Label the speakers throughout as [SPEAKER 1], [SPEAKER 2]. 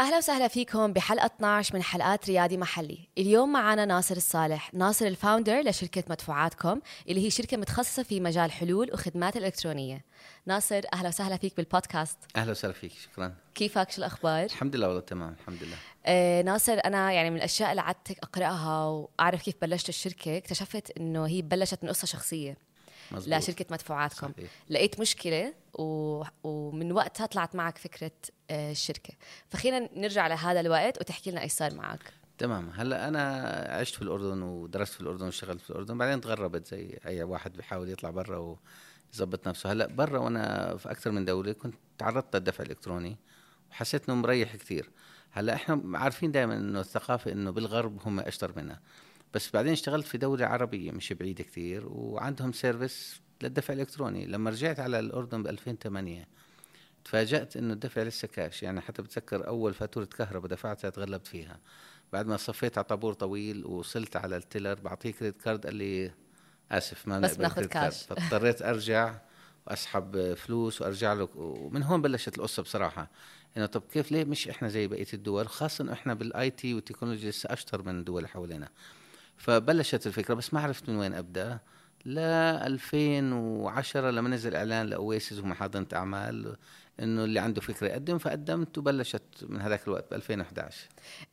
[SPEAKER 1] اهلا وسهلا فيكم بحلقه 12 من حلقات ريادي محلي، اليوم معنا ناصر الصالح، ناصر الفاوندر لشركه مدفوعاتكم اللي هي شركه متخصصه في مجال حلول وخدمات الالكترونيه. ناصر اهلا وسهلا فيك بالبودكاست،
[SPEAKER 2] اهلا وسهلا فيك شكرا
[SPEAKER 1] كيفك شو الاخبار؟
[SPEAKER 2] الحمد لله والله تمام الحمد لله
[SPEAKER 1] آه ناصر انا يعني من الاشياء اللي قعدت اقراها واعرف كيف بلشت الشركه، اكتشفت انه هي بلشت من قصه شخصيه
[SPEAKER 2] مزبوط.
[SPEAKER 1] لشركه مدفوعاتكم.
[SPEAKER 2] صحيح.
[SPEAKER 1] لقيت مشكله و... ومن وقتها طلعت معك فكره آه، الشركه فخلينا نرجع لهذا الوقت وتحكي لنا ايش صار معك
[SPEAKER 2] تمام هلا انا عشت في الاردن ودرست في الاردن واشتغلت في الاردن بعدين تغربت زي اي واحد بيحاول يطلع برا ويظبط نفسه هلا برا وانا في اكثر من دوله كنت تعرضت للدفع الالكتروني وحسيت انه مريح كثير هلا احنا عارفين دائما انه الثقافه انه بالغرب هم اشطر منا بس بعدين اشتغلت في دولة عربية مش بعيدة كثير وعندهم سيرفيس للدفع الإلكتروني لما رجعت على الأردن ب 2008 تفاجأت إنه الدفع لسه كاش يعني حتى بتذكر أول فاتورة كهرباء دفعتها تغلبت فيها بعد ما صفيت على طابور طويل ووصلت على التيلر بعطيه كريدت كارد قال لي آسف ما
[SPEAKER 1] بس
[SPEAKER 2] بنقبل
[SPEAKER 1] بناخد
[SPEAKER 2] كريدت كارد.
[SPEAKER 1] كاش.
[SPEAKER 2] فاضطريت أرجع وأسحب فلوس وأرجع له ومن هون بلشت القصة بصراحة إنه طب كيف ليه مش إحنا زي بقية الدول خاصة إنه إحنا بالآي تي والتكنولوجيا لسه أشطر من الدول اللي حوالينا فبلشت الفكره بس ما عرفت من وين ابدا ل 2010 لما نزل اعلان لاويسز ومحاضنه اعمال انه اللي عنده فكره يقدم فقدمت وبلشت من هذاك الوقت ب 2011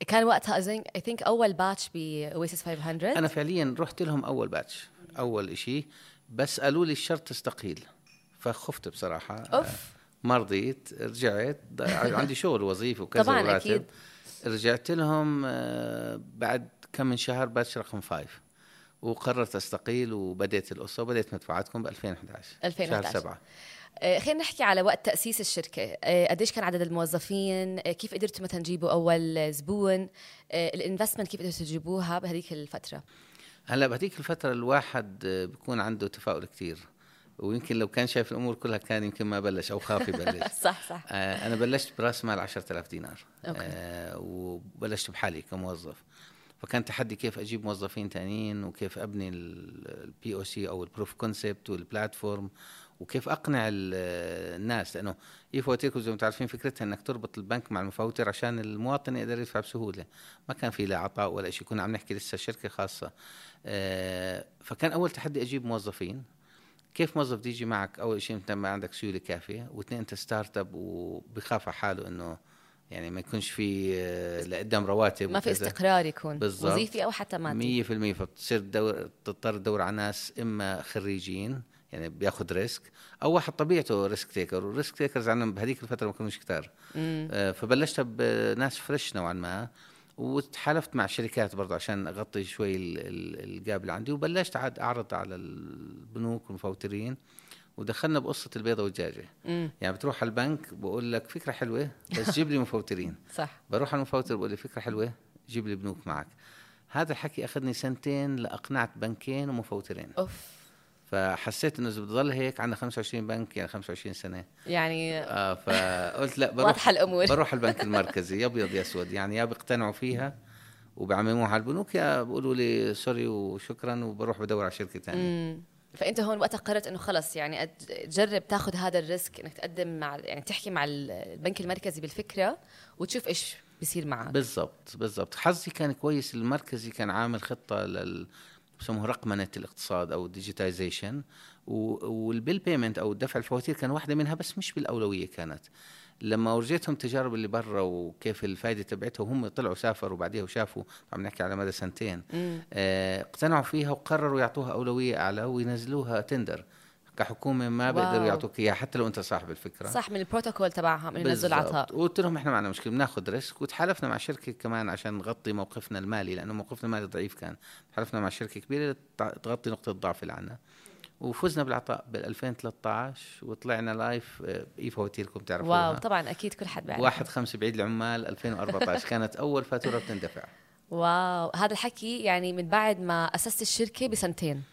[SPEAKER 1] كان وقتها اي ثينك اول باتش باويسس 500
[SPEAKER 2] انا فعليا رحت لهم اول باتش اول إشي بس قالوا لي الشرط تستقيل فخفت بصراحه
[SPEAKER 1] اوف
[SPEAKER 2] ما رضيت رجعت ض- عندي شغل وظيفه وكذا
[SPEAKER 1] طبعاً،
[SPEAKER 2] وراتب.
[SPEAKER 1] أكيد.
[SPEAKER 2] رجعت لهم آه، بعد كم من شهر باتش رقم فايف وقررت استقيل وبديت القصه وبديت مدفوعاتكم ب 2011
[SPEAKER 1] 2011.
[SPEAKER 2] شهر سبعه
[SPEAKER 1] آه، خلينا نحكي على وقت تاسيس الشركه آه، قديش كان عدد الموظفين آه، كيف قدرتوا مثلا تجيبوا اول زبون آه، الانفستمنت كيف قدرتوا تجيبوها بهذيك الفتره
[SPEAKER 2] هلا بهذيك الفتره الواحد آه، بيكون عنده تفاؤل كثير ويمكن لو كان شايف الامور كلها كان يمكن ما بلش او خاف يبلش
[SPEAKER 1] صح صح
[SPEAKER 2] آه، انا بلشت براس مال 10000 دينار
[SPEAKER 1] أوكي.
[SPEAKER 2] آه، وبلشت بحالي كموظف فكان تحدي كيف اجيب موظفين تانيين وكيف ابني البي او سي او البروف كونسبت والبلاتفورم وكيف اقنع ال- الناس لانه اي فواتيركم زي ما انتم عارفين فكرتها انك تربط البنك مع المفوتر عشان المواطن يقدر يدفع بسهوله ما كان في لا عطاء ولا شيء كنا عم نحكي لسه شركه خاصه آه، فكان اول تحدي اجيب موظفين كيف موظف بده يجي معك اول شيء انت ما عندك سيوله كافيه واثنين انت ستارت اب وبخاف على حاله انه يعني ما يكونش في آه، لقدام رواتب
[SPEAKER 1] ما في
[SPEAKER 2] وكذا.
[SPEAKER 1] استقرار يكون
[SPEAKER 2] بالضبط.
[SPEAKER 1] وظيفي او حتى مادي
[SPEAKER 2] 100% فبتصير تدور تضطر تدور على ناس اما خريجين يعني بياخذ ريسك او واحد طبيعته ريسك تيكر والريسك تيكرز عندنا بهذيك الفتره ما كانوش كتار آه، فبلشت بناس فريش نوعا ما وتحالفت مع شركات برضه عشان اغطي شوي ال- ال- الجاب اللي عندي وبلشت عاد اعرض على البنوك والمفوترين ودخلنا بقصه البيضه والدجاجه
[SPEAKER 1] مم.
[SPEAKER 2] يعني بتروح على البنك بقول لك فكره حلوه بس جيب لي مفوترين
[SPEAKER 1] صح
[SPEAKER 2] بروح على المفوتر بقول لي فكره حلوه جيب لي بنوك معك هذا الحكي اخذني سنتين لاقنعت بنكين ومفوترين
[SPEAKER 1] اوف
[SPEAKER 2] فحسيت انه اذا بتضل هيك عندنا 25 بنك يعني 25 سنه
[SPEAKER 1] يعني
[SPEAKER 2] آه فقلت لا بروح
[SPEAKER 1] واضحه الامور
[SPEAKER 2] بروح البنك المركزي يا ابيض يا اسود يعني يا بيقتنعوا فيها وبعمموها على البنوك يا بيقولوا لي سوري وشكرا وبروح بدور على شركه ثانيه
[SPEAKER 1] مم. فانت هون وقتها قررت انه خلص يعني أد- تجرب تاخذ هذا الريسك انك تقدم مع يعني تحكي مع ال- البنك المركزي بالفكره وتشوف ايش بيصير معك
[SPEAKER 2] بالضبط بالضبط حظي كان كويس المركزي كان عامل خطه لل بسموه رقمنه الاقتصاد او الديجيتايزيشن والبيل بيمنت او الدفع الفواتير كان واحده منها بس مش بالاولويه كانت لما ورجيتهم تجارب اللي برا وكيف الفائده تبعتها وهم طلعوا سافروا بعديها وشافوا عم نحكي على مدى سنتين
[SPEAKER 1] مم.
[SPEAKER 2] آه، اقتنعوا فيها وقرروا يعطوها اولويه اعلى وينزلوها تندر كحكومه ما
[SPEAKER 1] واو.
[SPEAKER 2] بيقدروا يعطوك اياها حتى لو انت صاحب الفكره
[SPEAKER 1] صح من البروتوكول تبعهم انه ينزلوا العطاء
[SPEAKER 2] بالضبط. وقلت لهم احنا ما عندنا مشكله بناخذ ريسك وتحالفنا مع شركه كمان عشان نغطي موقفنا المالي لانه موقفنا المالي ضعيف كان تحالفنا مع شركه كبيره لتع- تغطي نقطه ضعف اللي عندنا وفزنا بالعطاء بال 2013 وطلعنا لايف آه، باي فواتيركم تعرفوها
[SPEAKER 1] واو يعني. طبعا اكيد كل حد بيعرف
[SPEAKER 2] واحد خمسة بعيد العمال 2014 كانت اول فاتوره بتندفع
[SPEAKER 1] واو هذا الحكي يعني من بعد ما اسست الشركه بسنتين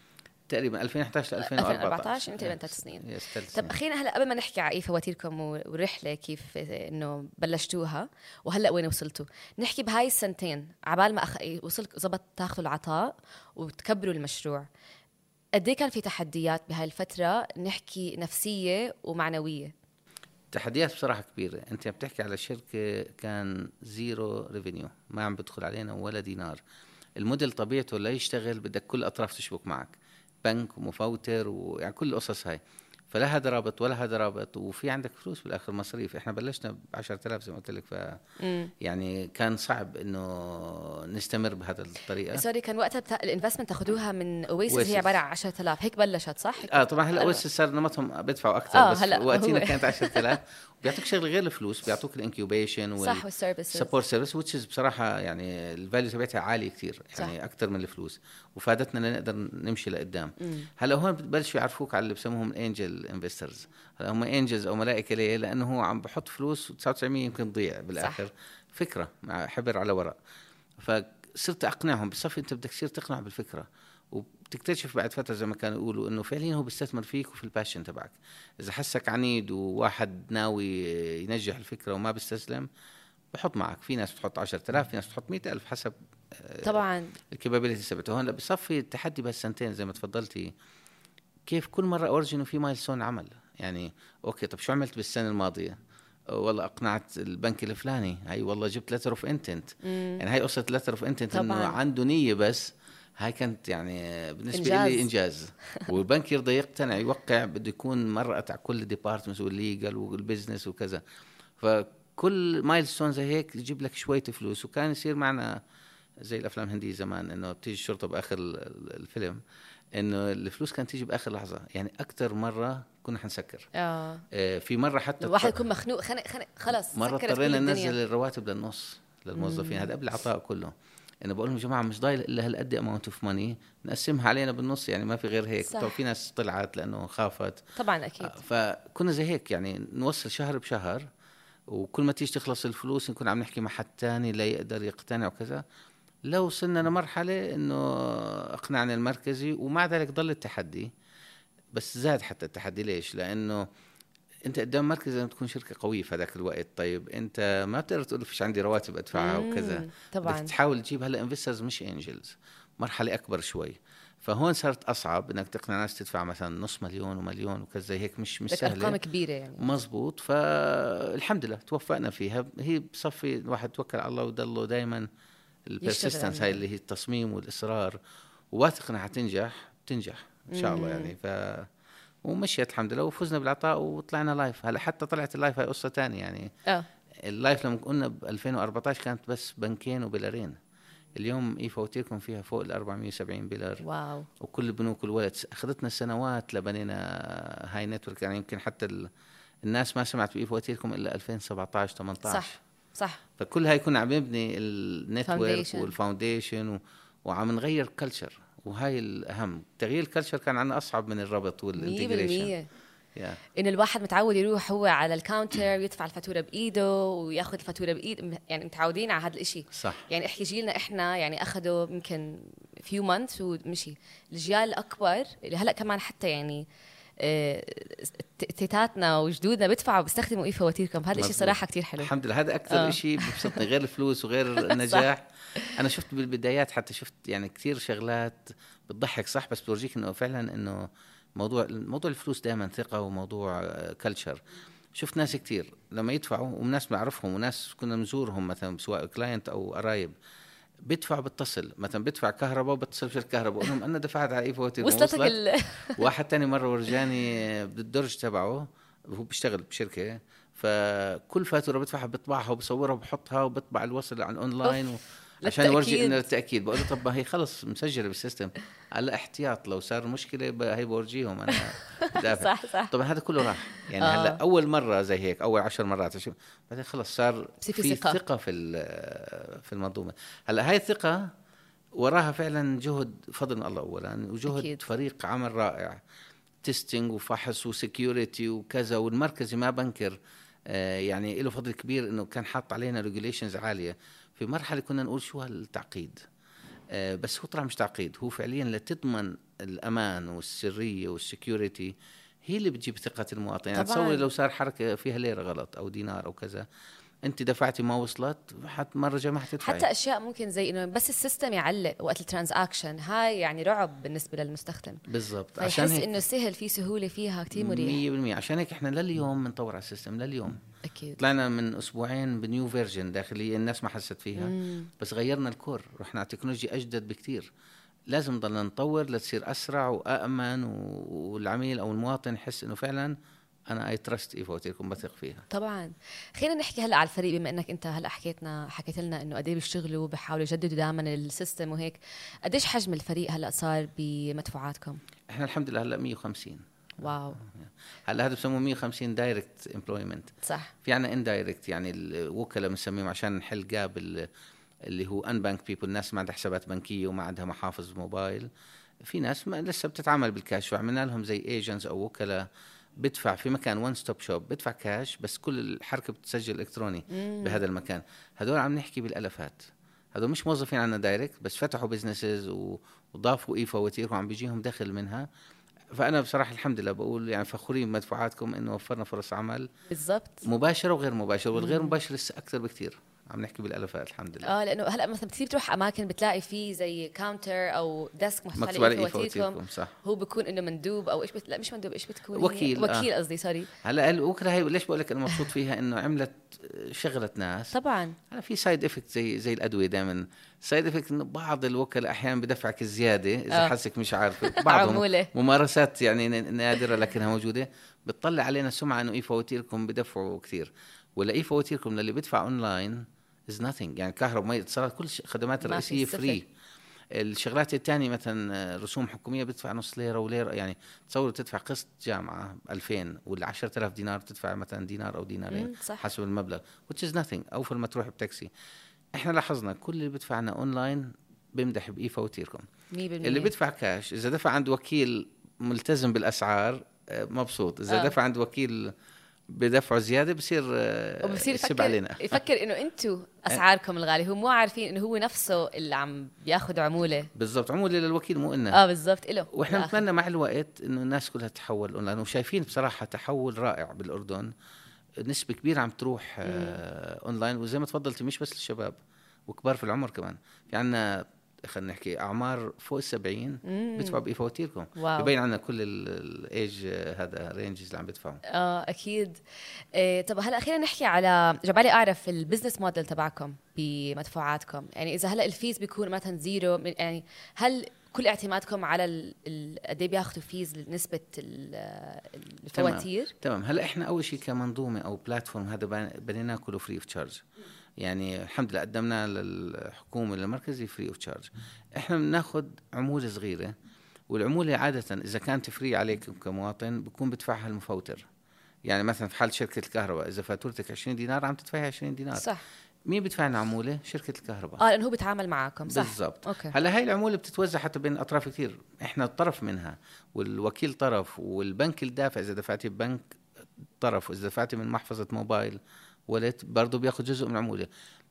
[SPEAKER 2] تقريبا 2011 ل
[SPEAKER 1] 2014
[SPEAKER 2] 2014
[SPEAKER 1] يعني تقريبا
[SPEAKER 2] Yes.
[SPEAKER 1] ثلاث سنين.
[SPEAKER 2] Yes، ثلاث
[SPEAKER 1] طب
[SPEAKER 2] سنين.
[SPEAKER 1] خلينا هلا قبل ما نحكي على ايه فواتيركم و- والرحله كيف انه بلشتوها وهلا وين وصلتوا نحكي بهاي السنتين عبال ما أخ... إيه، وصلك زبط تاخذوا العطاء وتكبروا المشروع قد إيه كان في تحديات بهاي الفتره نحكي نفسيه ومعنويه
[SPEAKER 2] تحديات بصراحه كبيره انت بتحكي على شركه كان زيرو ريفينيو ما عم بدخل علينا ولا دينار الموديل طبيعته لا يشتغل بدك كل الاطراف تشبك معك بنك ومفوتر ويعني كل القصص هاي فلا هذا رابط ولا هذا رابط وفي عندك فلوس بالاخر مصاريف احنا بلشنا ب 10000 زي ما قلت لك ف
[SPEAKER 1] مم.
[SPEAKER 2] يعني كان صعب انه نستمر بهذا الطريقه
[SPEAKER 1] سوري كان وقتها بتا... الانفستمنت تاخذوها من اويسس
[SPEAKER 2] Oasis.
[SPEAKER 1] هي عباره عن 10000 هيك بلشت صح؟
[SPEAKER 2] اه طبعا هلا
[SPEAKER 1] أنا-
[SPEAKER 2] اوس صار نمطهم بدفعوا اكثر
[SPEAKER 1] آه،
[SPEAKER 2] آه بس
[SPEAKER 1] هلأ هو-
[SPEAKER 2] وقتنا كانت 10000 بيعطوك شغله غير الفلوس بيعطوك الانكيوبيشن وال
[SPEAKER 1] صح والسيرفيسز
[SPEAKER 2] سبورت سيرفيس وتش بصراحه يعني الفاليو تبعتها عاليه كثير يعني اكثر من الفلوس وفادتنا لنقدر نمشي لقدام
[SPEAKER 1] مم.
[SPEAKER 2] هلا هون ببلشوا يعرفوك على اللي بسموهم الانجل انفسترز هلا هم انجلز او ملائكه ليه لانه هو عم بحط فلوس و99 يمكن تضيع بالاخر صح. فكره مع حبر على ورق فصرت اقنعهم بصفي انت بدك تصير تقنع بالفكره وبتكتشف بعد فتره زي ما كانوا يقولوا انه فعليا هو بيستثمر فيك وفي الباشن تبعك اذا حسك عنيد وواحد ناوي ينجح الفكره وما بيستسلم بحط معك في ناس بتحط 10000 في ناس بتحط 100000 حسب
[SPEAKER 1] طبعا
[SPEAKER 2] الكابابيلتي تبعته هلا بصفي التحدي بهالسنتين زي ما تفضلتي كيف كل مره اورجي انه في مايلسون عمل يعني اوكي طب شو عملت بالسنه الماضيه أه، والله اقنعت البنك الفلاني هاي والله جبت لتر اوف انتنت
[SPEAKER 1] مم.
[SPEAKER 2] يعني هاي قصه لتر اوف انتنت انه
[SPEAKER 1] طبعاً.
[SPEAKER 2] عنده نيه بس هاي كانت يعني بالنسبه
[SPEAKER 1] إنجاز.
[SPEAKER 2] لي انجاز والبنك يرضى يقتنع يوقع بده يكون مرقت على كل ديبارتمنت والليجل والبزنس وكذا فكل مايلستون زي هيك يجيب لك شويه فلوس وكان يصير معنا زي الافلام الهنديه زمان انه بتيجي الشرطه باخر ال- الفيلم انه الفلوس كانت تيجي باخر لحظه يعني اكثر مره كنا حنسكر
[SPEAKER 1] اه
[SPEAKER 2] آه، في مره حتى
[SPEAKER 1] الواحد
[SPEAKER 2] اضطر-
[SPEAKER 1] يكون مخنوق خنق خنق خلص
[SPEAKER 2] مره
[SPEAKER 1] سكرت كل
[SPEAKER 2] اضطرينا
[SPEAKER 1] الدنيا.
[SPEAKER 2] ننزل الرواتب للنص للموظفين هذا قبل العطاء كله انه بقول لهم يا جماعه مش ضايل الا هالقد اماونت اوف ماني نقسمها علينا بالنص يعني ما في غير هيك
[SPEAKER 1] صح.
[SPEAKER 2] طب في ناس طلعت لانه خافت
[SPEAKER 1] طبعا اكيد
[SPEAKER 2] فكنا زي هيك يعني نوصل شهر بشهر وكل ما تيجي تخلص الفلوس نكون عم نحكي مع حد تاني لا يقدر يقتنع وكذا لو وصلنا لمرحلة انه اقنعنا المركزي ومع ذلك ضل التحدي بس زاد حتى التحدي ليش؟ لانه انت قدام مركز لازم تكون شركة قوية في هذاك الوقت طيب انت ما بتقدر تقول فيش عندي رواتب ادفعها
[SPEAKER 1] مم،
[SPEAKER 2] وكذا
[SPEAKER 1] طبعا
[SPEAKER 2] بدك تحاول تجيب هلا انفسترز مش انجلز مرحله اكبر شوي فهون صارت اصعب انك تقنع ناس تدفع مثلا نص مليون ومليون وكذا زي هيك مش مش
[SPEAKER 1] بدك ارقام
[SPEAKER 2] سهله
[SPEAKER 1] كبيره يعني
[SPEAKER 2] مزبوط فالحمد لله توفقنا فيها هي بصفي الواحد توكل على الله وضله دائما البرسيستنس
[SPEAKER 1] عليها.
[SPEAKER 2] هاي اللي هي التصميم والاصرار وواثق انها حتنجح بتنجح ان شاء الله
[SPEAKER 1] مم.
[SPEAKER 2] يعني ف ومشيت الحمد لله وفزنا بالعطاء وطلعنا لايف هلا حتى طلعت اللايف هاي قصه تانية يعني
[SPEAKER 1] اه
[SPEAKER 2] اللايف لما قلنا ب 2014 كانت بس بنكين وبلارين اليوم اي فواتيركم فيها فوق ال 470 بلار
[SPEAKER 1] واو
[SPEAKER 2] وكل البنوك والولتس اخذتنا سنوات لبنينا هاي نتورك يعني يمكن حتى ال... الناس ما سمعت باي فواتيركم الا 2017 18
[SPEAKER 1] صح صح
[SPEAKER 2] فكل هاي كنا عم نبني النتورك
[SPEAKER 1] Foundation.
[SPEAKER 2] والفاونديشن و... وعم نغير كلتشر وهاي الاهم تغيير الكلتشر كان عنا اصعب من الربط
[SPEAKER 1] 100%
[SPEAKER 2] والانتجريشن
[SPEAKER 1] ان
[SPEAKER 2] yeah.
[SPEAKER 1] الواحد متعود يروح هو على الكاونتر ويدفع الفاتوره بايده وياخذ الفاتوره بايد يعني متعودين على هذا الشيء
[SPEAKER 2] صح
[SPEAKER 1] يعني احكي جيلنا احنا يعني اخذوا يمكن فيو مانث ومشي الجيال الاكبر اللي هلا كمان حتى يعني آه، ت- تيتاتنا وجدودنا بدفعوا بيستخدموا اي فواتيركم هذا الشيء
[SPEAKER 2] مزبوط.
[SPEAKER 1] صراحه كتير حلو
[SPEAKER 2] الحمد لله هذا اكثر
[SPEAKER 1] آه.
[SPEAKER 2] آه. شيء ببسطني غير الفلوس وغير النجاح انا شفت بالبدايات حتى شفت يعني كثير شغلات بتضحك صح بس بتورجيك انه فعلا انه موضوع موضوع الفلوس دائما ثقه وموضوع كلتشر شفت ناس كثير لما يدفعوا وناس بنعرفهم وناس كنا بنزورهم مثلا سواء كلاينت او قرايب بدفع بتصل مثلا بدفع كهرباء وبتصل بشركه كهرباء بقول لهم انا دفعت على اي فواتير
[SPEAKER 1] وصلتك ال...
[SPEAKER 2] واحد تاني مرة ورجاني بالدرج تبعه هو بيشتغل بشركة فكل فاتورة بدفعها بطبعها وبصورها وبحطها وبطبع الوصل عن اونلاين و... عشان
[SPEAKER 1] للتأكيد.
[SPEAKER 2] يورجي انه التاكيد بقول له طب ما هي خلص مسجله بالسيستم على احتياط لو صار مشكله ب- هي بورجيهم انا دافع
[SPEAKER 1] صح صح
[SPEAKER 2] طبعا هذا كله راح يعني
[SPEAKER 1] آه.
[SPEAKER 2] آه. هلا اول مره زي هيك اول عشر مرات عشر بعدين خلص صار
[SPEAKER 1] بصير
[SPEAKER 2] في
[SPEAKER 1] في ثقة.
[SPEAKER 2] ثقه, ثقة في ال- في المنظومه هلا هاي الثقه وراها فعلا جهد فضل من الله اولا وجهد
[SPEAKER 1] أكيد.
[SPEAKER 2] أكيد. فريق عمل رائع تيستينج وفحص وسكيورتي وكذا والمركزي ما بنكر آه، يعني له فضل كبير انه كان حاط علينا ريجوليشنز عاليه في مرحله كنا نقول شو هالتعقيد آه، بس هو طلع مش تعقيد هو فعليا لتضمن الامان والسريه والسكيورتي هي اللي بتجيب ثقه المواطن يعني
[SPEAKER 1] طبعاً.
[SPEAKER 2] تصور لو صار حركه فيها ليره غلط او دينار او كذا انت دفعتي ما وصلت حتى مره جايه ما حتدفعي
[SPEAKER 1] حتى اشياء ممكن زي انه بس السيستم يعلق وقت الترانزاكشن هاي يعني رعب بالنسبه للمستخدم
[SPEAKER 2] بالضبط عشان
[SPEAKER 1] فيحس
[SPEAKER 2] هيك
[SPEAKER 1] انه سهل في سهوله فيها كثير مريح
[SPEAKER 2] 100% عشان هيك احنا لليوم بنطور على السيستم لليوم
[SPEAKER 1] اكيد
[SPEAKER 2] طلعنا من اسبوعين بنيو فيرجن داخليه الناس ما حست فيها
[SPEAKER 1] مم.
[SPEAKER 2] بس غيرنا الكور رحنا على تكنولوجيا اجدد بكتير لازم نضلنا نطور لتصير اسرع وامن و- والعميل او المواطن يحس انه فعلا انا اي تراست ايفوتيكم بثق فيها
[SPEAKER 1] طبعا خلينا نحكي هلا على الفريق بما انك انت هلا حكيتنا حكيت لنا انه قد ايه بيشتغلوا بحاولوا يجددوا دائما السيستم وهيك قديش حجم الفريق هلا صار بمدفوعاتكم
[SPEAKER 2] احنا الحمد لله هلا 150
[SPEAKER 1] واو
[SPEAKER 2] هلا هذا بسموه 150 دايركت امبلويمنت
[SPEAKER 1] صح
[SPEAKER 2] في عنا اندايركت يعني الوكلاء بنسميهم عشان نحل جاب ال- اللي هو ان بانك بيبل الناس ما عندها حسابات بنكيه وما عندها محافظ موبايل في ناس ما لسه بتتعامل بالكاش وعملنا لهم زي ايجنتس او وكلاء بدفع في مكان وان ستوب شوب بدفع كاش بس كل الحركه بتسجل الكتروني بهذا المكان هدول عم نحكي بالالفات هدول مش موظفين عنا دايركت بس فتحوا بزنسز وضافوا اي فواتير وعم بيجيهم دخل منها فانا بصراحه الحمد لله بقول يعني فخورين بمدفوعاتكم انه وفرنا فرص عمل
[SPEAKER 1] بالضبط
[SPEAKER 2] مباشره وغير مباشره والغير مباشر لسه اكثر بكثير عم نحكي بالالفات الحمد لله
[SPEAKER 1] اه لانه هلا مثلا كثير بتروح اماكن بتلاقي فيه زي كاونتر او ديسك
[SPEAKER 2] مكتوب إيه على اي
[SPEAKER 1] فواتيركم
[SPEAKER 2] فواتيركم صح
[SPEAKER 1] هو بكون انه مندوب او ايش بت... لا مش مندوب ايش بتكون هي؟
[SPEAKER 2] وكيل، آه.
[SPEAKER 1] وكيل قصدي سوري
[SPEAKER 2] هلا الوكلاء هي ليش بقول لك انا مبسوط فيها انه عملت شغلت ناس
[SPEAKER 1] طبعا
[SPEAKER 2] هلا في سايد افكت زي زي الادويه دائما سايد افكت انه بعض الوكلاء احيانا بدفعك الزياده اذا
[SPEAKER 1] آه.
[SPEAKER 2] حسك مش عارف بعضهم
[SPEAKER 1] عمولة.
[SPEAKER 2] ممارسات يعني ن- نادره لكنها موجوده بتطلع علينا سمعه انه اي فواتيركم بدفعوا كثير ولا اي فواتيركم للي بدفع اونلاين از nothing يعني كهرباء مي اتصالات كل الخدمات
[SPEAKER 1] ما في
[SPEAKER 2] الرئيسيه
[SPEAKER 1] صفر.
[SPEAKER 2] فري الشغلات الثانية مثلا رسوم حكومية بتدفع نص ليرة وليرة يعني تصور تدفع قسط جامعة 2000 ولا 10000 دينار تدفع مثلا دينار أو دينارين
[SPEAKER 1] مم، صح.
[SPEAKER 2] حسب المبلغ which is nothing أوفر ما تروح بتاكسي احنا لاحظنا كل اللي بدفعنا اونلاين بيمدح باي فواتيركم
[SPEAKER 1] 100%
[SPEAKER 2] اللي بدفع كاش اذا دفع عند وكيل ملتزم بالاسعار آه، مبسوط اذا
[SPEAKER 1] آه.
[SPEAKER 2] دفع عند وكيل بدفعه زياده بصير آه،
[SPEAKER 1] وبصير
[SPEAKER 2] يسب
[SPEAKER 1] يفكر
[SPEAKER 2] علينا
[SPEAKER 1] يفكر انه انتم اسعاركم الغاليه هو مو عارفين انه هو نفسه اللي عم بياخذ عموله
[SPEAKER 2] بالضبط عمولة للوكيل مو إلنا
[SPEAKER 1] اه بالضبط له
[SPEAKER 2] واحنا
[SPEAKER 1] بالآخر.
[SPEAKER 2] نتمنى مع الوقت انه الناس كلها تتحول اونلاين وشايفين بصراحه تحول رائع بالاردن نسبه كبيره عم تروح آه اونلاين وزي ما تفضلتي مش بس الشباب وكبار في العمر كمان في عنا خلينا نحكي اعمار فوق السبعين
[SPEAKER 1] مم.
[SPEAKER 2] بيدفعوا بفواتيركم
[SPEAKER 1] واو.
[SPEAKER 2] ببين عنا كل الايج آه، هذا رينجز اللي عم بيدفعوا
[SPEAKER 1] اه اكيد إيه طب هلا خلينا نحكي على جبالي اعرف البزنس موديل تبعكم بمدفوعاتكم يعني اذا هلا الفيز بيكون مثلا زيرو من- يعني هل كل اعتمادكم على ال- ال- قد ايه بياخذوا فيز نسبه الفواتير
[SPEAKER 2] تمام هلا احنا اول شيء كمنظومه او بلاتفورم هذا بن- بنيناه كله فري اوف تشارج يعني الحمد لله قدمناه للحكومه للمركزي فري اوف تشارج احنا بناخذ عموله صغيره والعموله عاده اذا كانت فري عليكم كمواطن بكون بدفعها المفوتر يعني مثلا في حال شركه الكهرباء اذا فاتورتك 20 دينار عم تدفعها 20 دينار
[SPEAKER 1] صح
[SPEAKER 2] مين بدفع لنا عموله شركه الكهرباء
[SPEAKER 1] اه لانه هو بيتعامل معاكم صح
[SPEAKER 2] بالضبط
[SPEAKER 1] اوكي
[SPEAKER 2] هلا هاي العموله بتتوزع حتى بين الاطراف كثير احنا طرف منها والوكيل طرف والبنك الدافع اذا دفعتي ببنك طرف واذا دفعتي من محفظه موبايل ولت برضه بياخذ جزء من العموله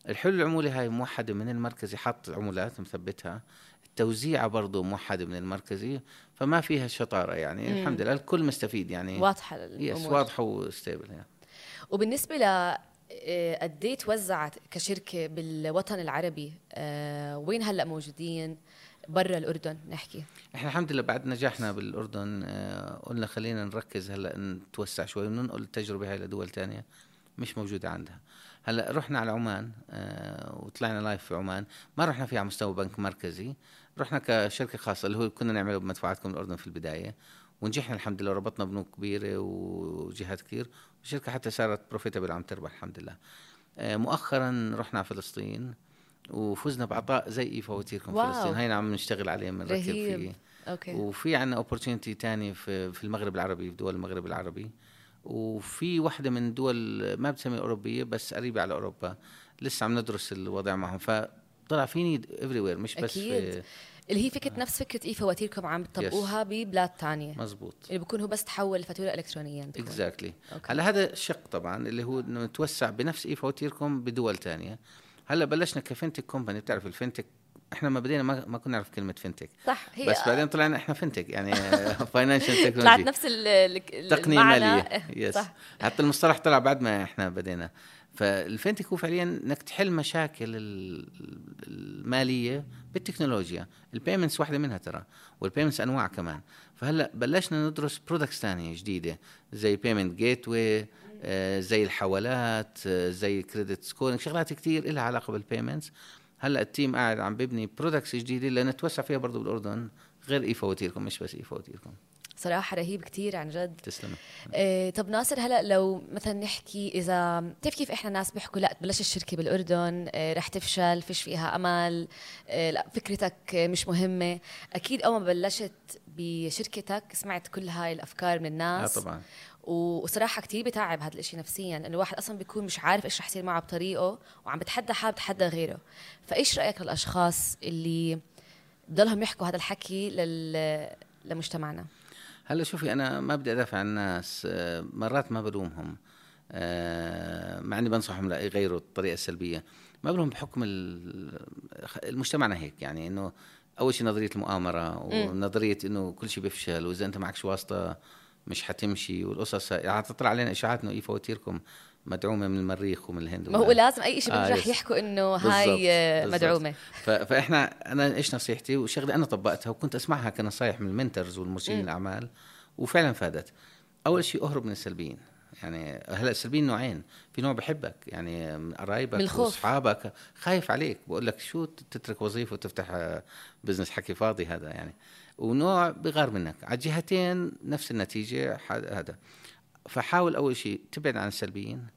[SPEAKER 2] الحلو العموله هاي موحده من المركزي حط عمولات مثبتها التوزيعة برضه موحده من المركزي فما فيها شطاره يعني
[SPEAKER 1] مم.
[SPEAKER 2] الحمد لله الكل مستفيد يعني
[SPEAKER 1] واضحه
[SPEAKER 2] يس
[SPEAKER 1] الامور
[SPEAKER 2] واضحه وستيبل يعني.
[SPEAKER 1] وبالنسبه ل آه، قد ايه توزعت كشركه بالوطن العربي آه، وين هلا موجودين برا الاردن نحكي
[SPEAKER 2] احنا الحمد لله بعد نجاحنا بالاردن آه، قلنا خلينا نركز هلا نتوسع شوي وننقل التجربه هاي لدول تانية مش موجوده عندها هلا رحنا على عمان آه، وطلعنا لايف في عمان ما رحنا فيها على مستوى بنك مركزي رحنا كشركه خاصه اللي هو كنا نعمله بمدفوعاتكم الاردن في البدايه ونجحنا الحمد لله ربطنا بنوك كبيره وجهات كثير الشركه حتى صارت بروفيتبل عم تربح الحمد لله آه، مؤخرا رحنا على فلسطين وفزنا بعطاء زي اي فواتيركم
[SPEAKER 1] واو.
[SPEAKER 2] فلسطين هينا عم نشتغل عليه من ركب
[SPEAKER 1] رهيب.
[SPEAKER 2] فيه
[SPEAKER 1] اوكي
[SPEAKER 2] وفي عنا اوبورتونيتي تاني في في المغرب العربي في دول المغرب العربي وفي واحدة من دول ما بتسمي أوروبية بس قريبة على أوروبا لسه عم ندرس الوضع معهم فطلع في نيد افري وير مش بس في آه.
[SPEAKER 1] أكيد. اللي هي فكره نفس فكره اي فواتيركم عم بتطبقوها ببلاد تانية
[SPEAKER 2] مزبوط
[SPEAKER 1] اللي بكون هو بس تحول الفاتوره الكترونيا بتكون.
[SPEAKER 2] اكزاكتلي
[SPEAKER 1] أوكي.
[SPEAKER 2] هلا هذا شق طبعا اللي هو انه نتوسع بنفس اي فواتيركم بدول تانية هلا بلشنا كفنتك كومباني بتعرف الفنتك احنا ما بدينا ما, ما كنا نعرف كلمة فنتك
[SPEAKER 1] صح هي آه.
[SPEAKER 2] بس بعدين طلعنا احنا فنتك يعني فاينانشال تكنولوجي
[SPEAKER 1] طلعت نفس ال- ال-
[SPEAKER 2] تقنيه
[SPEAKER 1] المعنى.
[SPEAKER 2] ماليه يس
[SPEAKER 1] صح
[SPEAKER 2] حتى المصطلح طلع بعد ما احنا بدينا فالفنتك هو فعليا انك تحل مشاكل ال- الماليه بالتكنولوجيا البيمنتس واحده منها ترى والبيمنتس انواع كمان فهلا بلشنا ندرس برودكتس ثانيه جديده زي بيمنت جيت واي زي الحوالات آه، زي كريدت سكورينج شغلات كثير لها علاقه بالبيمنتس هلا التيم قاعد عم ببني برودكتس جديده لنتوسع فيها برضو بالاردن غير اي فواتيركم مش بس اي فواتيركم
[SPEAKER 1] صراحه رهيب كتير عن جد
[SPEAKER 2] تسلم آه،
[SPEAKER 1] إيه طب ناصر هلا لو مثلا نحكي اذا بتعرف كيف احنا ناس بيحكوا لا تبلش الشركه بالاردن إيه رح تفشل فيش فيها امل إيه لا فكرتك إيه، مش مهمه اكيد اول ما بلشت بشركتك سمعت كل هاي الافكار من
[SPEAKER 2] اه
[SPEAKER 1] الناس
[SPEAKER 2] طبعا
[SPEAKER 1] و- وصراحه كتير بتعب هذا الاشي نفسيا انه الواحد اصلا بيكون مش عارف ايش رح يصير معه بطريقه وعم بتحدى حاله بتحدى غيره فايش رايك للاشخاص اللي بضلهم يحكوا هذا الحكي لل لمجتمعنا
[SPEAKER 2] هلا شوفي انا ما بدي ادافع عن الناس آه، مرات ما بلومهم آه، مع اني بنصحهم لا يغيروا الطريقه السلبيه ما بلوم بحكم ال- المجتمعنا هيك يعني انه اول شيء نظريه المؤامره ونظريه انه كل شيء بيفشل واذا انت معكش واسطه مش حتمشي والقصص ه- يعني تطلع علينا اشاعات انه اي فواتيركم مدعومه من المريخ ومن الهند
[SPEAKER 1] ما هو
[SPEAKER 2] ولا-
[SPEAKER 1] لازم اي شيء
[SPEAKER 2] آه،
[SPEAKER 1] آه رح
[SPEAKER 2] يس.
[SPEAKER 1] يحكوا انه
[SPEAKER 2] بالضبط،
[SPEAKER 1] هاي آه،
[SPEAKER 2] بالضبط.
[SPEAKER 1] مدعومه
[SPEAKER 2] ف- فاحنا انا ايش نصيحتي وشغله انا طبقتها وكنت اسمعها كنصايح من المنترز والمرشدين الاعمال وفعلا فادت اول شيء اهرب من السلبيين يعني هلا السلبيين نوعين في نوع بحبك يعني من
[SPEAKER 1] من
[SPEAKER 2] قرايبك
[SPEAKER 1] الخوف.
[SPEAKER 2] واصحابك خايف عليك بقول لك شو تترك وظيفه وتفتح آه، بزنس حكي فاضي هذا يعني ونوع بغار منك على الجهتين نفس النتيجه ح- هذا فحاول اول شيء تبعد عن السلبيين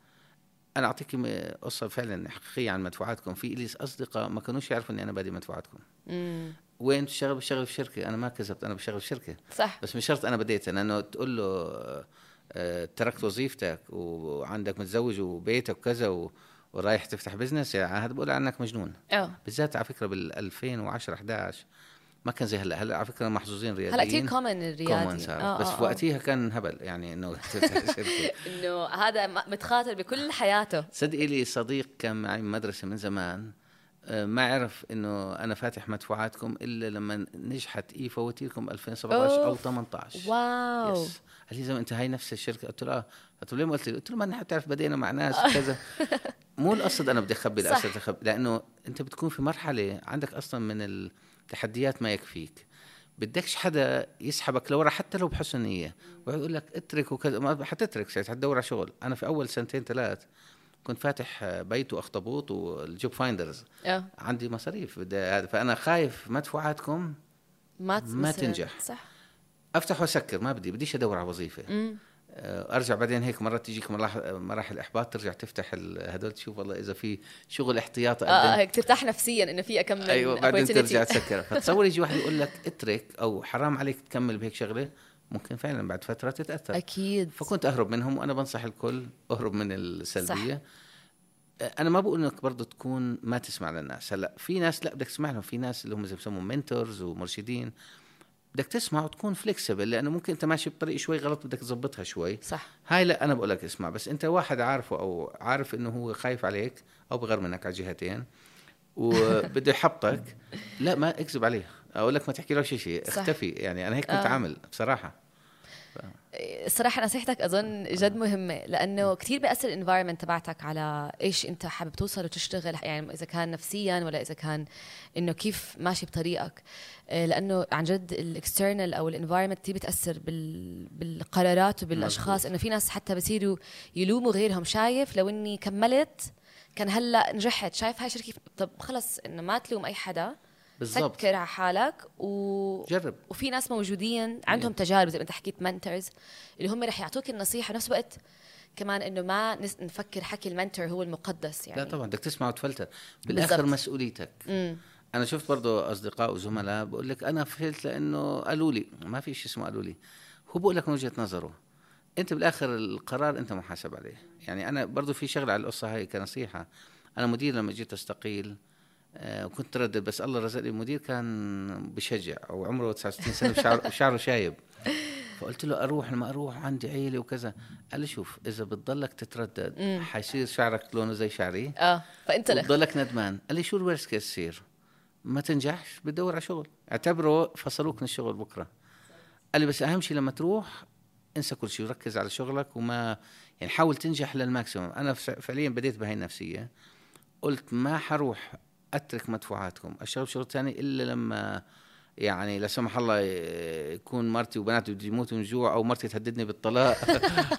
[SPEAKER 2] انا اعطيك م- قصه فعلا حقيقيه عن مدفوعاتكم في لي اصدقاء ما كانوش يعرفوا اني انا بادي مدفوعاتكم
[SPEAKER 1] مم.
[SPEAKER 2] وين بتشتغل بشتغل في شركه انا ما كذبت انا بشتغل في شركه
[SPEAKER 1] صح
[SPEAKER 2] بس مش شرط انا بديت لانه تقول له آه، تركت وظيفتك وعندك متزوج وبيتك وكذا و- ورايح تفتح بزنس يعني هذا بقول عنك مجنون
[SPEAKER 1] اه
[SPEAKER 2] بالذات على فكره بال 2010 11 ما كان زي هلا هلا على فكره محظوظين رياديين
[SPEAKER 1] هلا كثير كومن
[SPEAKER 2] common
[SPEAKER 1] الريادي آه،
[SPEAKER 2] صار بس في وقتيها كان هبل يعني انه تفتح شركه
[SPEAKER 1] انه هذا م- متخاطر بكل حياته
[SPEAKER 2] صدقي لي صديق كان معي مدرسة من زمان آه، ما عرف انه انا فاتح مدفوعاتكم الا لما نجحت اي فواتيركم 2017 او
[SPEAKER 1] أوف.
[SPEAKER 2] 18
[SPEAKER 1] واو
[SPEAKER 2] يس قال لي زلمه انت هاي نفس الشركه قلت له اه قلت له ليه ما قلت لي قلت له ما نحن بتعرف بدينا مع ناس وكذا مو القصد انا بدي اخبي
[SPEAKER 1] صح.
[SPEAKER 2] الاسد أخبي لانه انت بتكون في مرحله عندك اصلا من التحديات ما يكفيك بدكش حدا يسحبك لورا حتى لو بحسن نيه ويقول لك اترك وكذا ما حتترك ساعتها حتدور على شغل انا في اول سنتين ثلاث كنت فاتح آه، بيت واخطبوط والجوب فايندرز
[SPEAKER 1] اه
[SPEAKER 2] عندي مصاريف بدي هذا فانا خايف مدفوعاتكم
[SPEAKER 1] ما
[SPEAKER 2] ما
[SPEAKER 1] تصير.
[SPEAKER 2] تنجح.
[SPEAKER 1] صح
[SPEAKER 2] افتح واسكر ما بدي بديش ادور على وظيفه
[SPEAKER 1] مم.
[SPEAKER 2] آه، ارجع بعدين هيك مرات تجيك مراحل مراحل احباط ترجع تفتح ال- هدول تشوف والله اذا في شغل احتياطي
[SPEAKER 1] اه
[SPEAKER 2] أقدم.
[SPEAKER 1] هيك ترتاح نفسيا انه في اكمل
[SPEAKER 2] ايوه بعدين
[SPEAKER 1] آه، opportunity.
[SPEAKER 2] ترجع تسكر فتصور يجي واحد يقول لك اترك او حرام عليك تكمل بهيك شغله ممكن فعلا بعد فتره تتاثر
[SPEAKER 1] اكيد
[SPEAKER 2] فكنت اهرب منهم وانا بنصح الكل اهرب من السلبيه صح. انا ما بقول انك برضه تكون ما تسمع للناس هلا في ناس لا بدك تسمع لهم في ناس اللي هم زي بسموهم منتورز ومرشدين بدك تسمع وتكون فليكسبل لانه ممكن انت ماشي بطريق شوي غلط بدك تظبطها شوي
[SPEAKER 1] صح
[SPEAKER 2] هاي لا انا بقول لك اسمع بس انت واحد عارفه او عارف انه هو خايف عليك او بغير منك على جهتين وبده يحبطك لا ما اكذب عليه اقول لك ما تحكي له شيء شيء
[SPEAKER 1] صح.
[SPEAKER 2] اختفي يعني انا هيك كنت
[SPEAKER 1] آه.
[SPEAKER 2] عامل بصراحه
[SPEAKER 1] الصراحه نصيحتك اظن جد مهمه لانه كثير بياثر الانفايرمنت تبعتك على ايش انت حابب توصل وتشتغل يعني اذا كان نفسيا ولا اذا كان انه كيف ماشي بطريقك آه، لانه عن جد الاكسترنال او الانفايرمنت كثير بتاثر بال... بالقرارات وبالاشخاص انه في ناس حتى بصيروا يلوموا غيرهم شايف لو اني كملت كان هلا نجحت شايف هاي شركه طب خلص انه ما تلوم اي حدا
[SPEAKER 2] بالضبط.
[SPEAKER 1] سكر على حالك و
[SPEAKER 2] جرب
[SPEAKER 1] وفي ناس موجودين عندهم تجارب زي ما انت حكيت منتورز اللي هم رح يعطوك النصيحه بنفس الوقت كمان انه ما نس- نفكر حكي المنتور هو المقدس يعني
[SPEAKER 2] لا طبعا بدك تسمع وتفلتر بالاخر
[SPEAKER 1] بالضبط.
[SPEAKER 2] مسؤوليتك انا شفت برضو اصدقاء وزملاء بقول لك انا فشلت لانه قالوا لي ما في شيء اسمه قالوا لي هو بقول لك من وجهه نظره انت بالاخر القرار انت محاسب عليه يعني انا برضو في شغله على القصه هاي كنصيحه انا مدير لما جيت استقيل آه، وكنت تردد بس الله رزقني مدير كان بشجع وعمره 69 سنه وشعره شعره شايب فقلت له اروح ما اروح عندي عيله وكذا قال لي شوف اذا بتضلك تتردد حيصير شعرك لونه زي شعري
[SPEAKER 1] اه فانت لك
[SPEAKER 2] وتضلك ندمان قال لي شو الورست كيس يصير ما تنجحش بتدور على شغل اعتبره فصلوك من الشغل بكره قال لي بس اهم شيء لما تروح انسى كل شيء وركز على شغلك وما يعني حاول تنجح للماكسيموم انا فس- فعليا بديت بهاي النفسيه قلت ما حروح اترك مدفوعاتكم اشتغل شغل ثاني الا لما يعني لا سمح الله ي- يكون مرتي وبناتي بده يموتوا من جوع او مرتي تهددني بالطلاق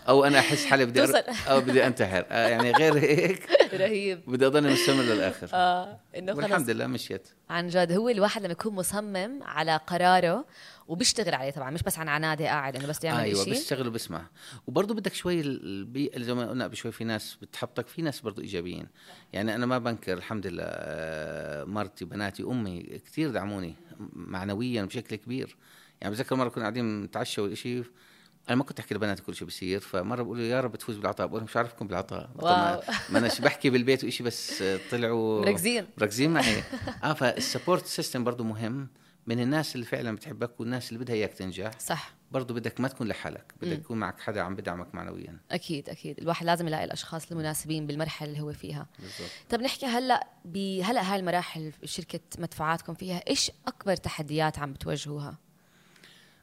[SPEAKER 2] او انا احس حالي بدي أر-
[SPEAKER 1] توصل.
[SPEAKER 2] او بدي انتحر آه، يعني غير هيك
[SPEAKER 1] رهيب
[SPEAKER 2] بدي اضلني مستمر للاخر
[SPEAKER 1] اه انه خلص
[SPEAKER 2] والحمد لله مشيت
[SPEAKER 1] عن جد هو الواحد لما يكون مصمم على قراره وبيشتغل عليه طبعا مش بس عن عناده قاعد انه بس يعمل
[SPEAKER 2] ايوه
[SPEAKER 1] شيء
[SPEAKER 2] بيشتغل وبسمع وبرضه بدك شوي البيئه زي ما قلنا قبل شوي في ناس بتحبطك في ناس برضه ايجابيين يعني انا ما بنكر الحمد لله آه، مرتي بناتي امي كثير دعموني معنويا بشكل كبير يعني بتذكر مره كنا قاعدين نتعشى والشيء انا ما كنت احكي لبناتي كل شيء بصير فمره بقول له يا رب تفوز بالعطاء بقول لهم مش عارفكم بالعطاء
[SPEAKER 1] واو.
[SPEAKER 2] طبعا ما انا بحكي بالبيت وإشي بس آه، طلعوا
[SPEAKER 1] مركزين
[SPEAKER 2] مركزين معي اه فالسبورت سيستم برضه مهم من الناس اللي فعلا بتحبك والناس اللي بدها اياك تنجح
[SPEAKER 1] صح
[SPEAKER 2] برضه بدك ما تكون لحالك بدك
[SPEAKER 1] مم.
[SPEAKER 2] يكون معك حدا عم بدعمك معنويا
[SPEAKER 1] اكيد اكيد الواحد لازم يلاقي الاشخاص المناسبين بالمرحله اللي هو فيها
[SPEAKER 2] بالضبط
[SPEAKER 1] طب نحكي هلا بهلا هاي المراحل شركه مدفوعاتكم فيها ايش اكبر تحديات عم بتواجهوها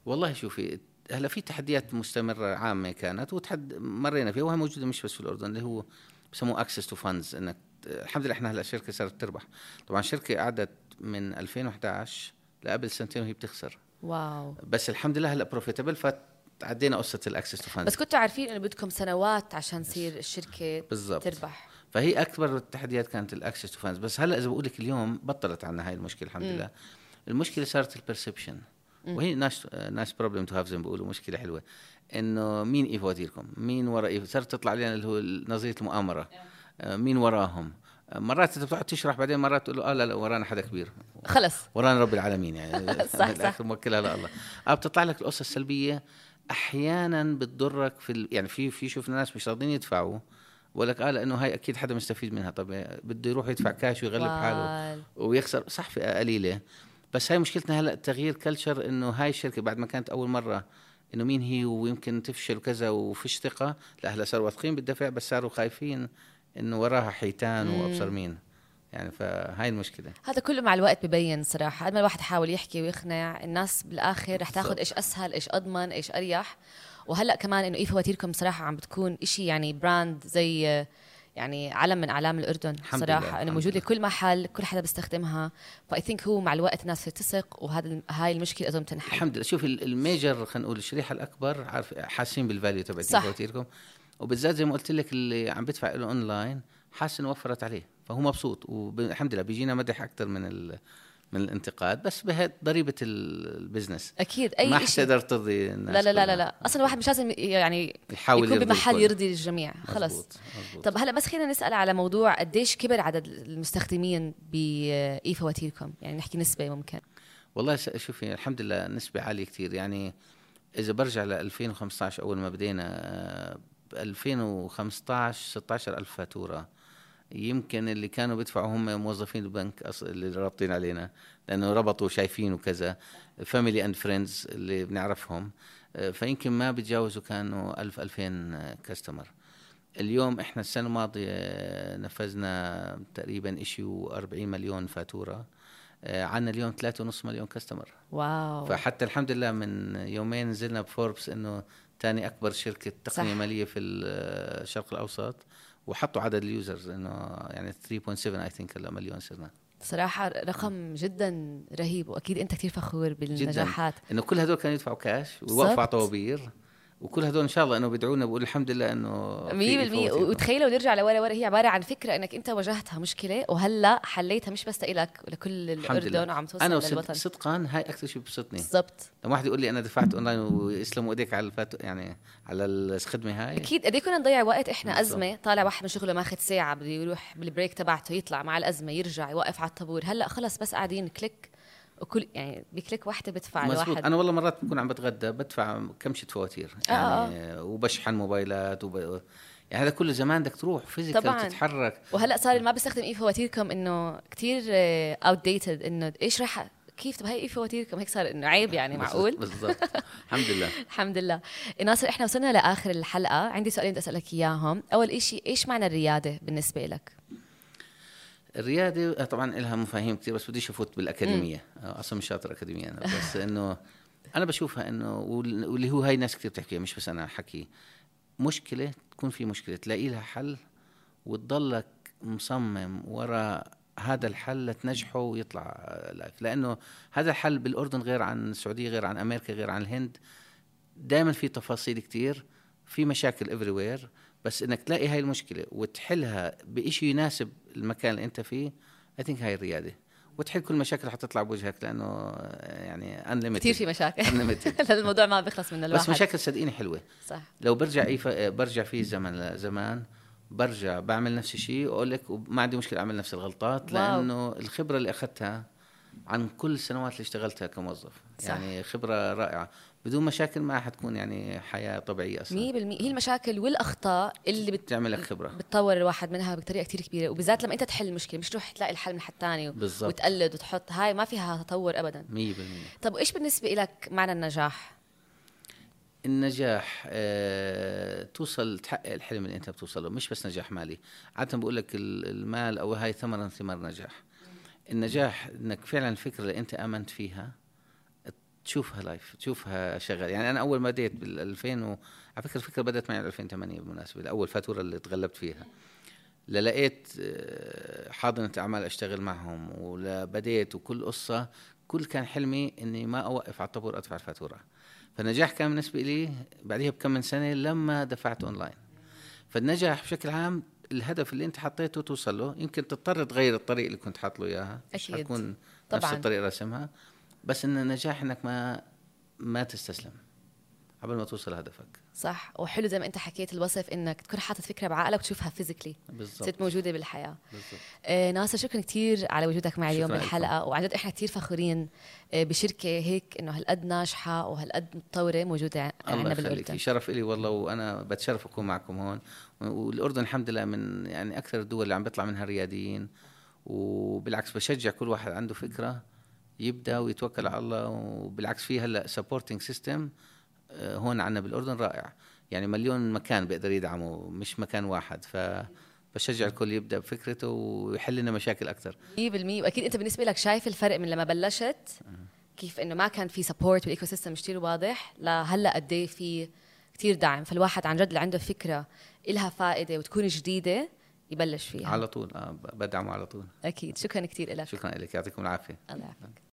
[SPEAKER 2] والله شوفي هلا في تحديات مستمره عامه كانت وتحد مرينا فيها وهي موجوده مش بس في الاردن اللي هو بسموه اكسس تو فاندز انك الحمد لله احنا هلا الشركه صارت تربح طبعا الشركه قعدت من 2011 لقبل سنتين وهي بتخسر
[SPEAKER 1] واو
[SPEAKER 2] بس الحمد لله هلا بروفيتبل فعدينا قصه الاكسس تو
[SPEAKER 1] بس
[SPEAKER 2] فاندز
[SPEAKER 1] كنتوا عارفين انه بدكم سنوات عشان تصير الشركه
[SPEAKER 2] بالضبط
[SPEAKER 1] تربح
[SPEAKER 2] فهي اكبر التحديات كانت الاكسس تو فانز بس هلا اذا بقول لك اليوم بطلت عنا هاي المشكله الحمد
[SPEAKER 1] مم.
[SPEAKER 2] لله المشكله صارت البرسبشن
[SPEAKER 1] مم.
[SPEAKER 2] وهي آه، ناس ناس بروبلم تو هاف زي ما بيقولوا مشكله حلوه انه مين ايفو وديركم مين ورا ايفو صارت تطلع علينا اللي هو نظريه المؤامره آه، مين وراهم آه، مرات انت بتقعد تشرح بعدين مرات تقول له اه لا لا ورانا حدا كبير
[SPEAKER 1] خلص
[SPEAKER 2] ورانا رب العالمين يعني
[SPEAKER 1] صح،
[SPEAKER 2] من الآخر موكلها لله اه بتطلع لك القصص السلبيه احيانا بتضرك في ال... يعني في في شفنا ناس مش راضيين يدفعوا بقول لك اه لانه هاي اكيد حدا مستفيد منها طب بده يروح يدفع كاش ويغلب
[SPEAKER 1] آه.
[SPEAKER 2] حاله
[SPEAKER 1] وال-
[SPEAKER 2] ويخسر صح في قليله بس هاي مشكلتنا هلا تغيير كلتشر انه هاي الشركه بعد ما كانت اول مره انه مين هي ويمكن تفشل وكذا وفيش ثقه لا هلا صاروا واثقين بالدفع بس صاروا خايفين انه وراها حيتان
[SPEAKER 1] مم.
[SPEAKER 2] وابصر مين يعني فهاي المشكله
[SPEAKER 1] هذا كله مع الوقت ببين صراحة قد ما الواحد حاول يحكي ويقنع الناس بالآخر رح تاخذ
[SPEAKER 2] بالضبط.
[SPEAKER 1] إيش أسهل إيش أضمن إيش أريح وهلأ كمان إنه إيه فواتيركم صراحة عم بتكون إشي يعني براند زي آه، يعني علم من أعلام الأردن
[SPEAKER 2] الحمد لله،
[SPEAKER 1] صراحة إنه
[SPEAKER 2] الحمد
[SPEAKER 1] موجودة
[SPEAKER 2] لله.
[SPEAKER 1] كل محل كل حدا بيستخدمها فأي ثينك هو مع الوقت الناس تثق وهذا هاي المشكلة أظن تنحل
[SPEAKER 2] الحمد لله شوف ال- الميجر خلينا نقول الشريحه الاكبر عارف حاسين بالفاليو تبعت
[SPEAKER 1] صح.
[SPEAKER 2] فواتيركم وبالذات زي ما قلت لك اللي عم بدفع له اونلاين حاسس انه وفرت عليه فهو مبسوط والحمد لله بيجينا مدح اكثر من ال... من الانتقاد بس بهي ضريبه ال- البزنس
[SPEAKER 1] أكيد
[SPEAKER 2] ما
[SPEAKER 1] أي إشي لا
[SPEAKER 2] حتقدر ترضي الناس
[SPEAKER 1] لا لا لا
[SPEAKER 2] كلها.
[SPEAKER 1] لا أصلا الواحد مش لازم يعني
[SPEAKER 2] يحاول
[SPEAKER 1] يكون
[SPEAKER 2] يرضي
[SPEAKER 1] بمحل
[SPEAKER 2] الكل.
[SPEAKER 1] يرضي الجميع خلص
[SPEAKER 2] مزبوط، مزبوط.
[SPEAKER 1] طب هلا بس خلينا نسال على موضوع قديش كبر عدد المستخدمين باي فواتيركم يعني نحكي نسبه ممكن
[SPEAKER 2] والله س- شوفي الحمد لله نسبة عالية كتير يعني إذا برجع ل 2015 أول ما بدينا آه، ب 2015 16 ألف فاتورة يمكن اللي كانوا بيدفعوا هم موظفين البنك أص- اللي رابطين علينا لأنه ربطوا شايفين وكذا فاميلي أند فريندز اللي بنعرفهم آه، فيمكن ما بتجاوزوا كانوا 1000 2000 كاستمر اليوم احنا السنة الماضية نفذنا تقريبا اشي و40 مليون فاتورة عندنا آه، اليوم 3.5 مليون كاستمر
[SPEAKER 1] واو
[SPEAKER 2] فحتى الحمد لله من يومين نزلنا بفوربس انه تاني اكبر شركة تقنية
[SPEAKER 1] صح.
[SPEAKER 2] مالية في الشرق الاوسط وحطوا عدد اليوزرز انه يعني 3.7 اي ثينك هلا مليون صرنا
[SPEAKER 1] صراحه رقم جدا رهيب واكيد انت كثير فخور بالنجاحات
[SPEAKER 2] انه كل هدول كانوا يدفعوا كاش ويوقفوا على
[SPEAKER 1] بالضبط.
[SPEAKER 2] طوابير وكل هدول ان شاء الله انه بيدعونا بقول الحمد لله انه آه، في يعني.
[SPEAKER 1] 100%
[SPEAKER 2] فواتير.
[SPEAKER 1] وتخيلوا نرجع لورا ورا هي عباره عن فكره انك انت واجهتها مشكله وهلا حليتها مش بس لك ولكل
[SPEAKER 2] الحمد لله.
[SPEAKER 1] الاردن وعم توصل
[SPEAKER 2] انا وصد-
[SPEAKER 1] للوطن
[SPEAKER 2] صدقا هاي اكثر شيء ببسطني
[SPEAKER 1] بالضبط
[SPEAKER 2] لما واحد يقول لي انا دفعت اونلاين ويسلموا ايديك على الفات يعني على الخدمه هاي
[SPEAKER 1] اكيد قد إيه كنا نضيع وقت احنا
[SPEAKER 2] بالضبط.
[SPEAKER 1] ازمه طالع واحد من شغله ماخذ ساعه بده يروح بالبريك تبعته يطلع مع الازمه يرجع يوقف على الطابور هلا خلص بس قاعدين كليك وكل يعني بكليك واحده بدفع
[SPEAKER 2] مزبوط
[SPEAKER 1] الواحد
[SPEAKER 2] انا والله مرات بكون عم بتغدى بدفع كمشه فواتير
[SPEAKER 1] آه، آه.
[SPEAKER 2] يعني وبشحن موبايلات وب... يعني هذا كله زمان بدك تروح فيزيكال
[SPEAKER 1] طبعاً.
[SPEAKER 2] وتتحرك
[SPEAKER 1] وهلا صار اللي ما بيستخدم اي فواتيركم انه كتير آه، اوت ديتد انه ايش رح كيف طب هي اي فواتيركم هيك صار انه عيب يعني
[SPEAKER 2] بس-
[SPEAKER 1] معقول
[SPEAKER 2] بالضبط الحمد لله
[SPEAKER 1] الحمد لله إيه ناصر احنا وصلنا لاخر الحلقه عندي سؤالين بدي اسالك اياهم اول إشي ايش معنى الرياده بالنسبه لك
[SPEAKER 2] الرياده آه، طبعا لها مفاهيم كثير بس بديش افوت بالاكاديميه آه، اصلا مش شاطر اكاديميا انا بس انه انا بشوفها انه وال- واللي هو هاي ناس كثير بتحكيها مش بس انا حكي مشكله تكون في مشكله تلاقي لها حل وتضلك مصمم ورا هذا الحل لتنجحه ويطلع آه، لايف لانه هذا الحل بالاردن غير عن السعوديه غير عن امريكا غير عن الهند دائما في تفاصيل كتير في مشاكل افري وير بس انك تلاقي هاي المشكله وتحلها بشيء يناسب المكان اللي انت فيه اي ثينك هاي الرياده وتحل كل المشاكل اللي حتطلع بوجهك لانه آه، يعني unlimited
[SPEAKER 1] كثير في مشاكل
[SPEAKER 2] Unlimited.
[SPEAKER 1] الموضوع ما بيخلص من الواحد
[SPEAKER 2] بس مشاكل صدقيني حلوه
[SPEAKER 1] صح
[SPEAKER 2] لو برجع أي ف... برجع فيه زمن زمان برجع بعمل نفس الشيء واقول لك وما عندي مشكله اعمل نفس الغلطات
[SPEAKER 1] واو.
[SPEAKER 2] لانه الخبره اللي اخذتها عن كل السنوات اللي اشتغلتها كموظف
[SPEAKER 1] صح.
[SPEAKER 2] يعني خبره رائعه بدون مشاكل ما حتكون يعني حياه طبيعيه
[SPEAKER 1] 100%
[SPEAKER 2] اصلا
[SPEAKER 1] هي المشاكل والاخطاء اللي بت...
[SPEAKER 2] بتعمل لك خبره
[SPEAKER 1] بتطور الواحد منها بطريقه كتير كبيره وبالذات لما انت تحل المشكله مش تروح تلاقي الحل من حد تاني و...
[SPEAKER 2] بالضبط.
[SPEAKER 1] وتقلد وتحط هاي ما فيها تطور ابدا
[SPEAKER 2] 100%
[SPEAKER 1] طب وايش بالنسبه لك معنى النجاح
[SPEAKER 2] النجاح آه، توصل تحقق الحلم اللي انت بتوصله مش بس نجاح مالي عاده بقول لك ال- المال او هاي ثمرا ثمار نجاح النجاح انك فعلا الفكره اللي انت امنت فيها تشوفها لايف تشوفها شغال يعني انا اول ما بديت بال 2000 و... على فكره الفكره بدات معي 2008 بالمناسبه الاول فاتوره اللي تغلبت فيها لقيت آه، حاضنه اعمال اشتغل معهم وبديت وكل قصه كل كان حلمي اني ما اوقف على الطابور ادفع الفاتوره فالنجاح كان بالنسبه لي بعديها بكم من سنه لما دفعت اونلاين فالنجاح بشكل عام الهدف اللي انت حطيته توصل له يمكن تضطر تغير الطريق اللي كنت حاط له اياها مش
[SPEAKER 1] أكيد.
[SPEAKER 2] حتكون نفس
[SPEAKER 1] طبعاً.
[SPEAKER 2] الطريق راسمها بس ان النجاح انك ما ما تستسلم قبل ما توصل هدفك
[SPEAKER 1] صح وحلو زي ما انت حكيت الوصف انك تكون حاطط فكره بعقلك وتشوفها فيزيكلي صرت
[SPEAKER 2] بالضبط
[SPEAKER 1] موجوده بالحياه
[SPEAKER 2] بالضبط
[SPEAKER 1] آه، ناصر شكرا كثير على وجودك معي اليوم
[SPEAKER 2] شكراً
[SPEAKER 1] بالحلقه وعن جد احنا كثير فخورين آه، بشركه هيك انه هالقد ناجحه وهالقد متطوره موجوده
[SPEAKER 2] الله
[SPEAKER 1] عندنا
[SPEAKER 2] يخليك
[SPEAKER 1] بالاردن
[SPEAKER 2] شرف لي والله وانا بتشرف اكون معكم هون والاردن الحمد لله من يعني اكثر الدول اللي عم بيطلع منها الرياديين وبالعكس بشجع كل واحد عنده فكره يبدا ويتوكل على الله وبالعكس في هلا سبورتنج سيستم آه، هون عندنا بالاردن رائع يعني مليون مكان بيقدر يدعمه مش مكان واحد ف بشجع الكل يبدا بفكرته ويحل لنا مشاكل اكثر
[SPEAKER 1] 100% واكيد انت بالنسبه لك شايف الفرق من لما بلشت كيف انه ما كان في سبورت والايكو سيستم كثير واضح لهلا قد ايه في كثير دعم فالواحد عن جد اللي عنده فكره إلها فائده وتكون جديده يبلش فيها
[SPEAKER 2] على طول آه بدعمه على طول
[SPEAKER 1] اكيد شكرا كثير لك
[SPEAKER 2] شكرا لك يعطيكم العافيه
[SPEAKER 1] الله يعافيك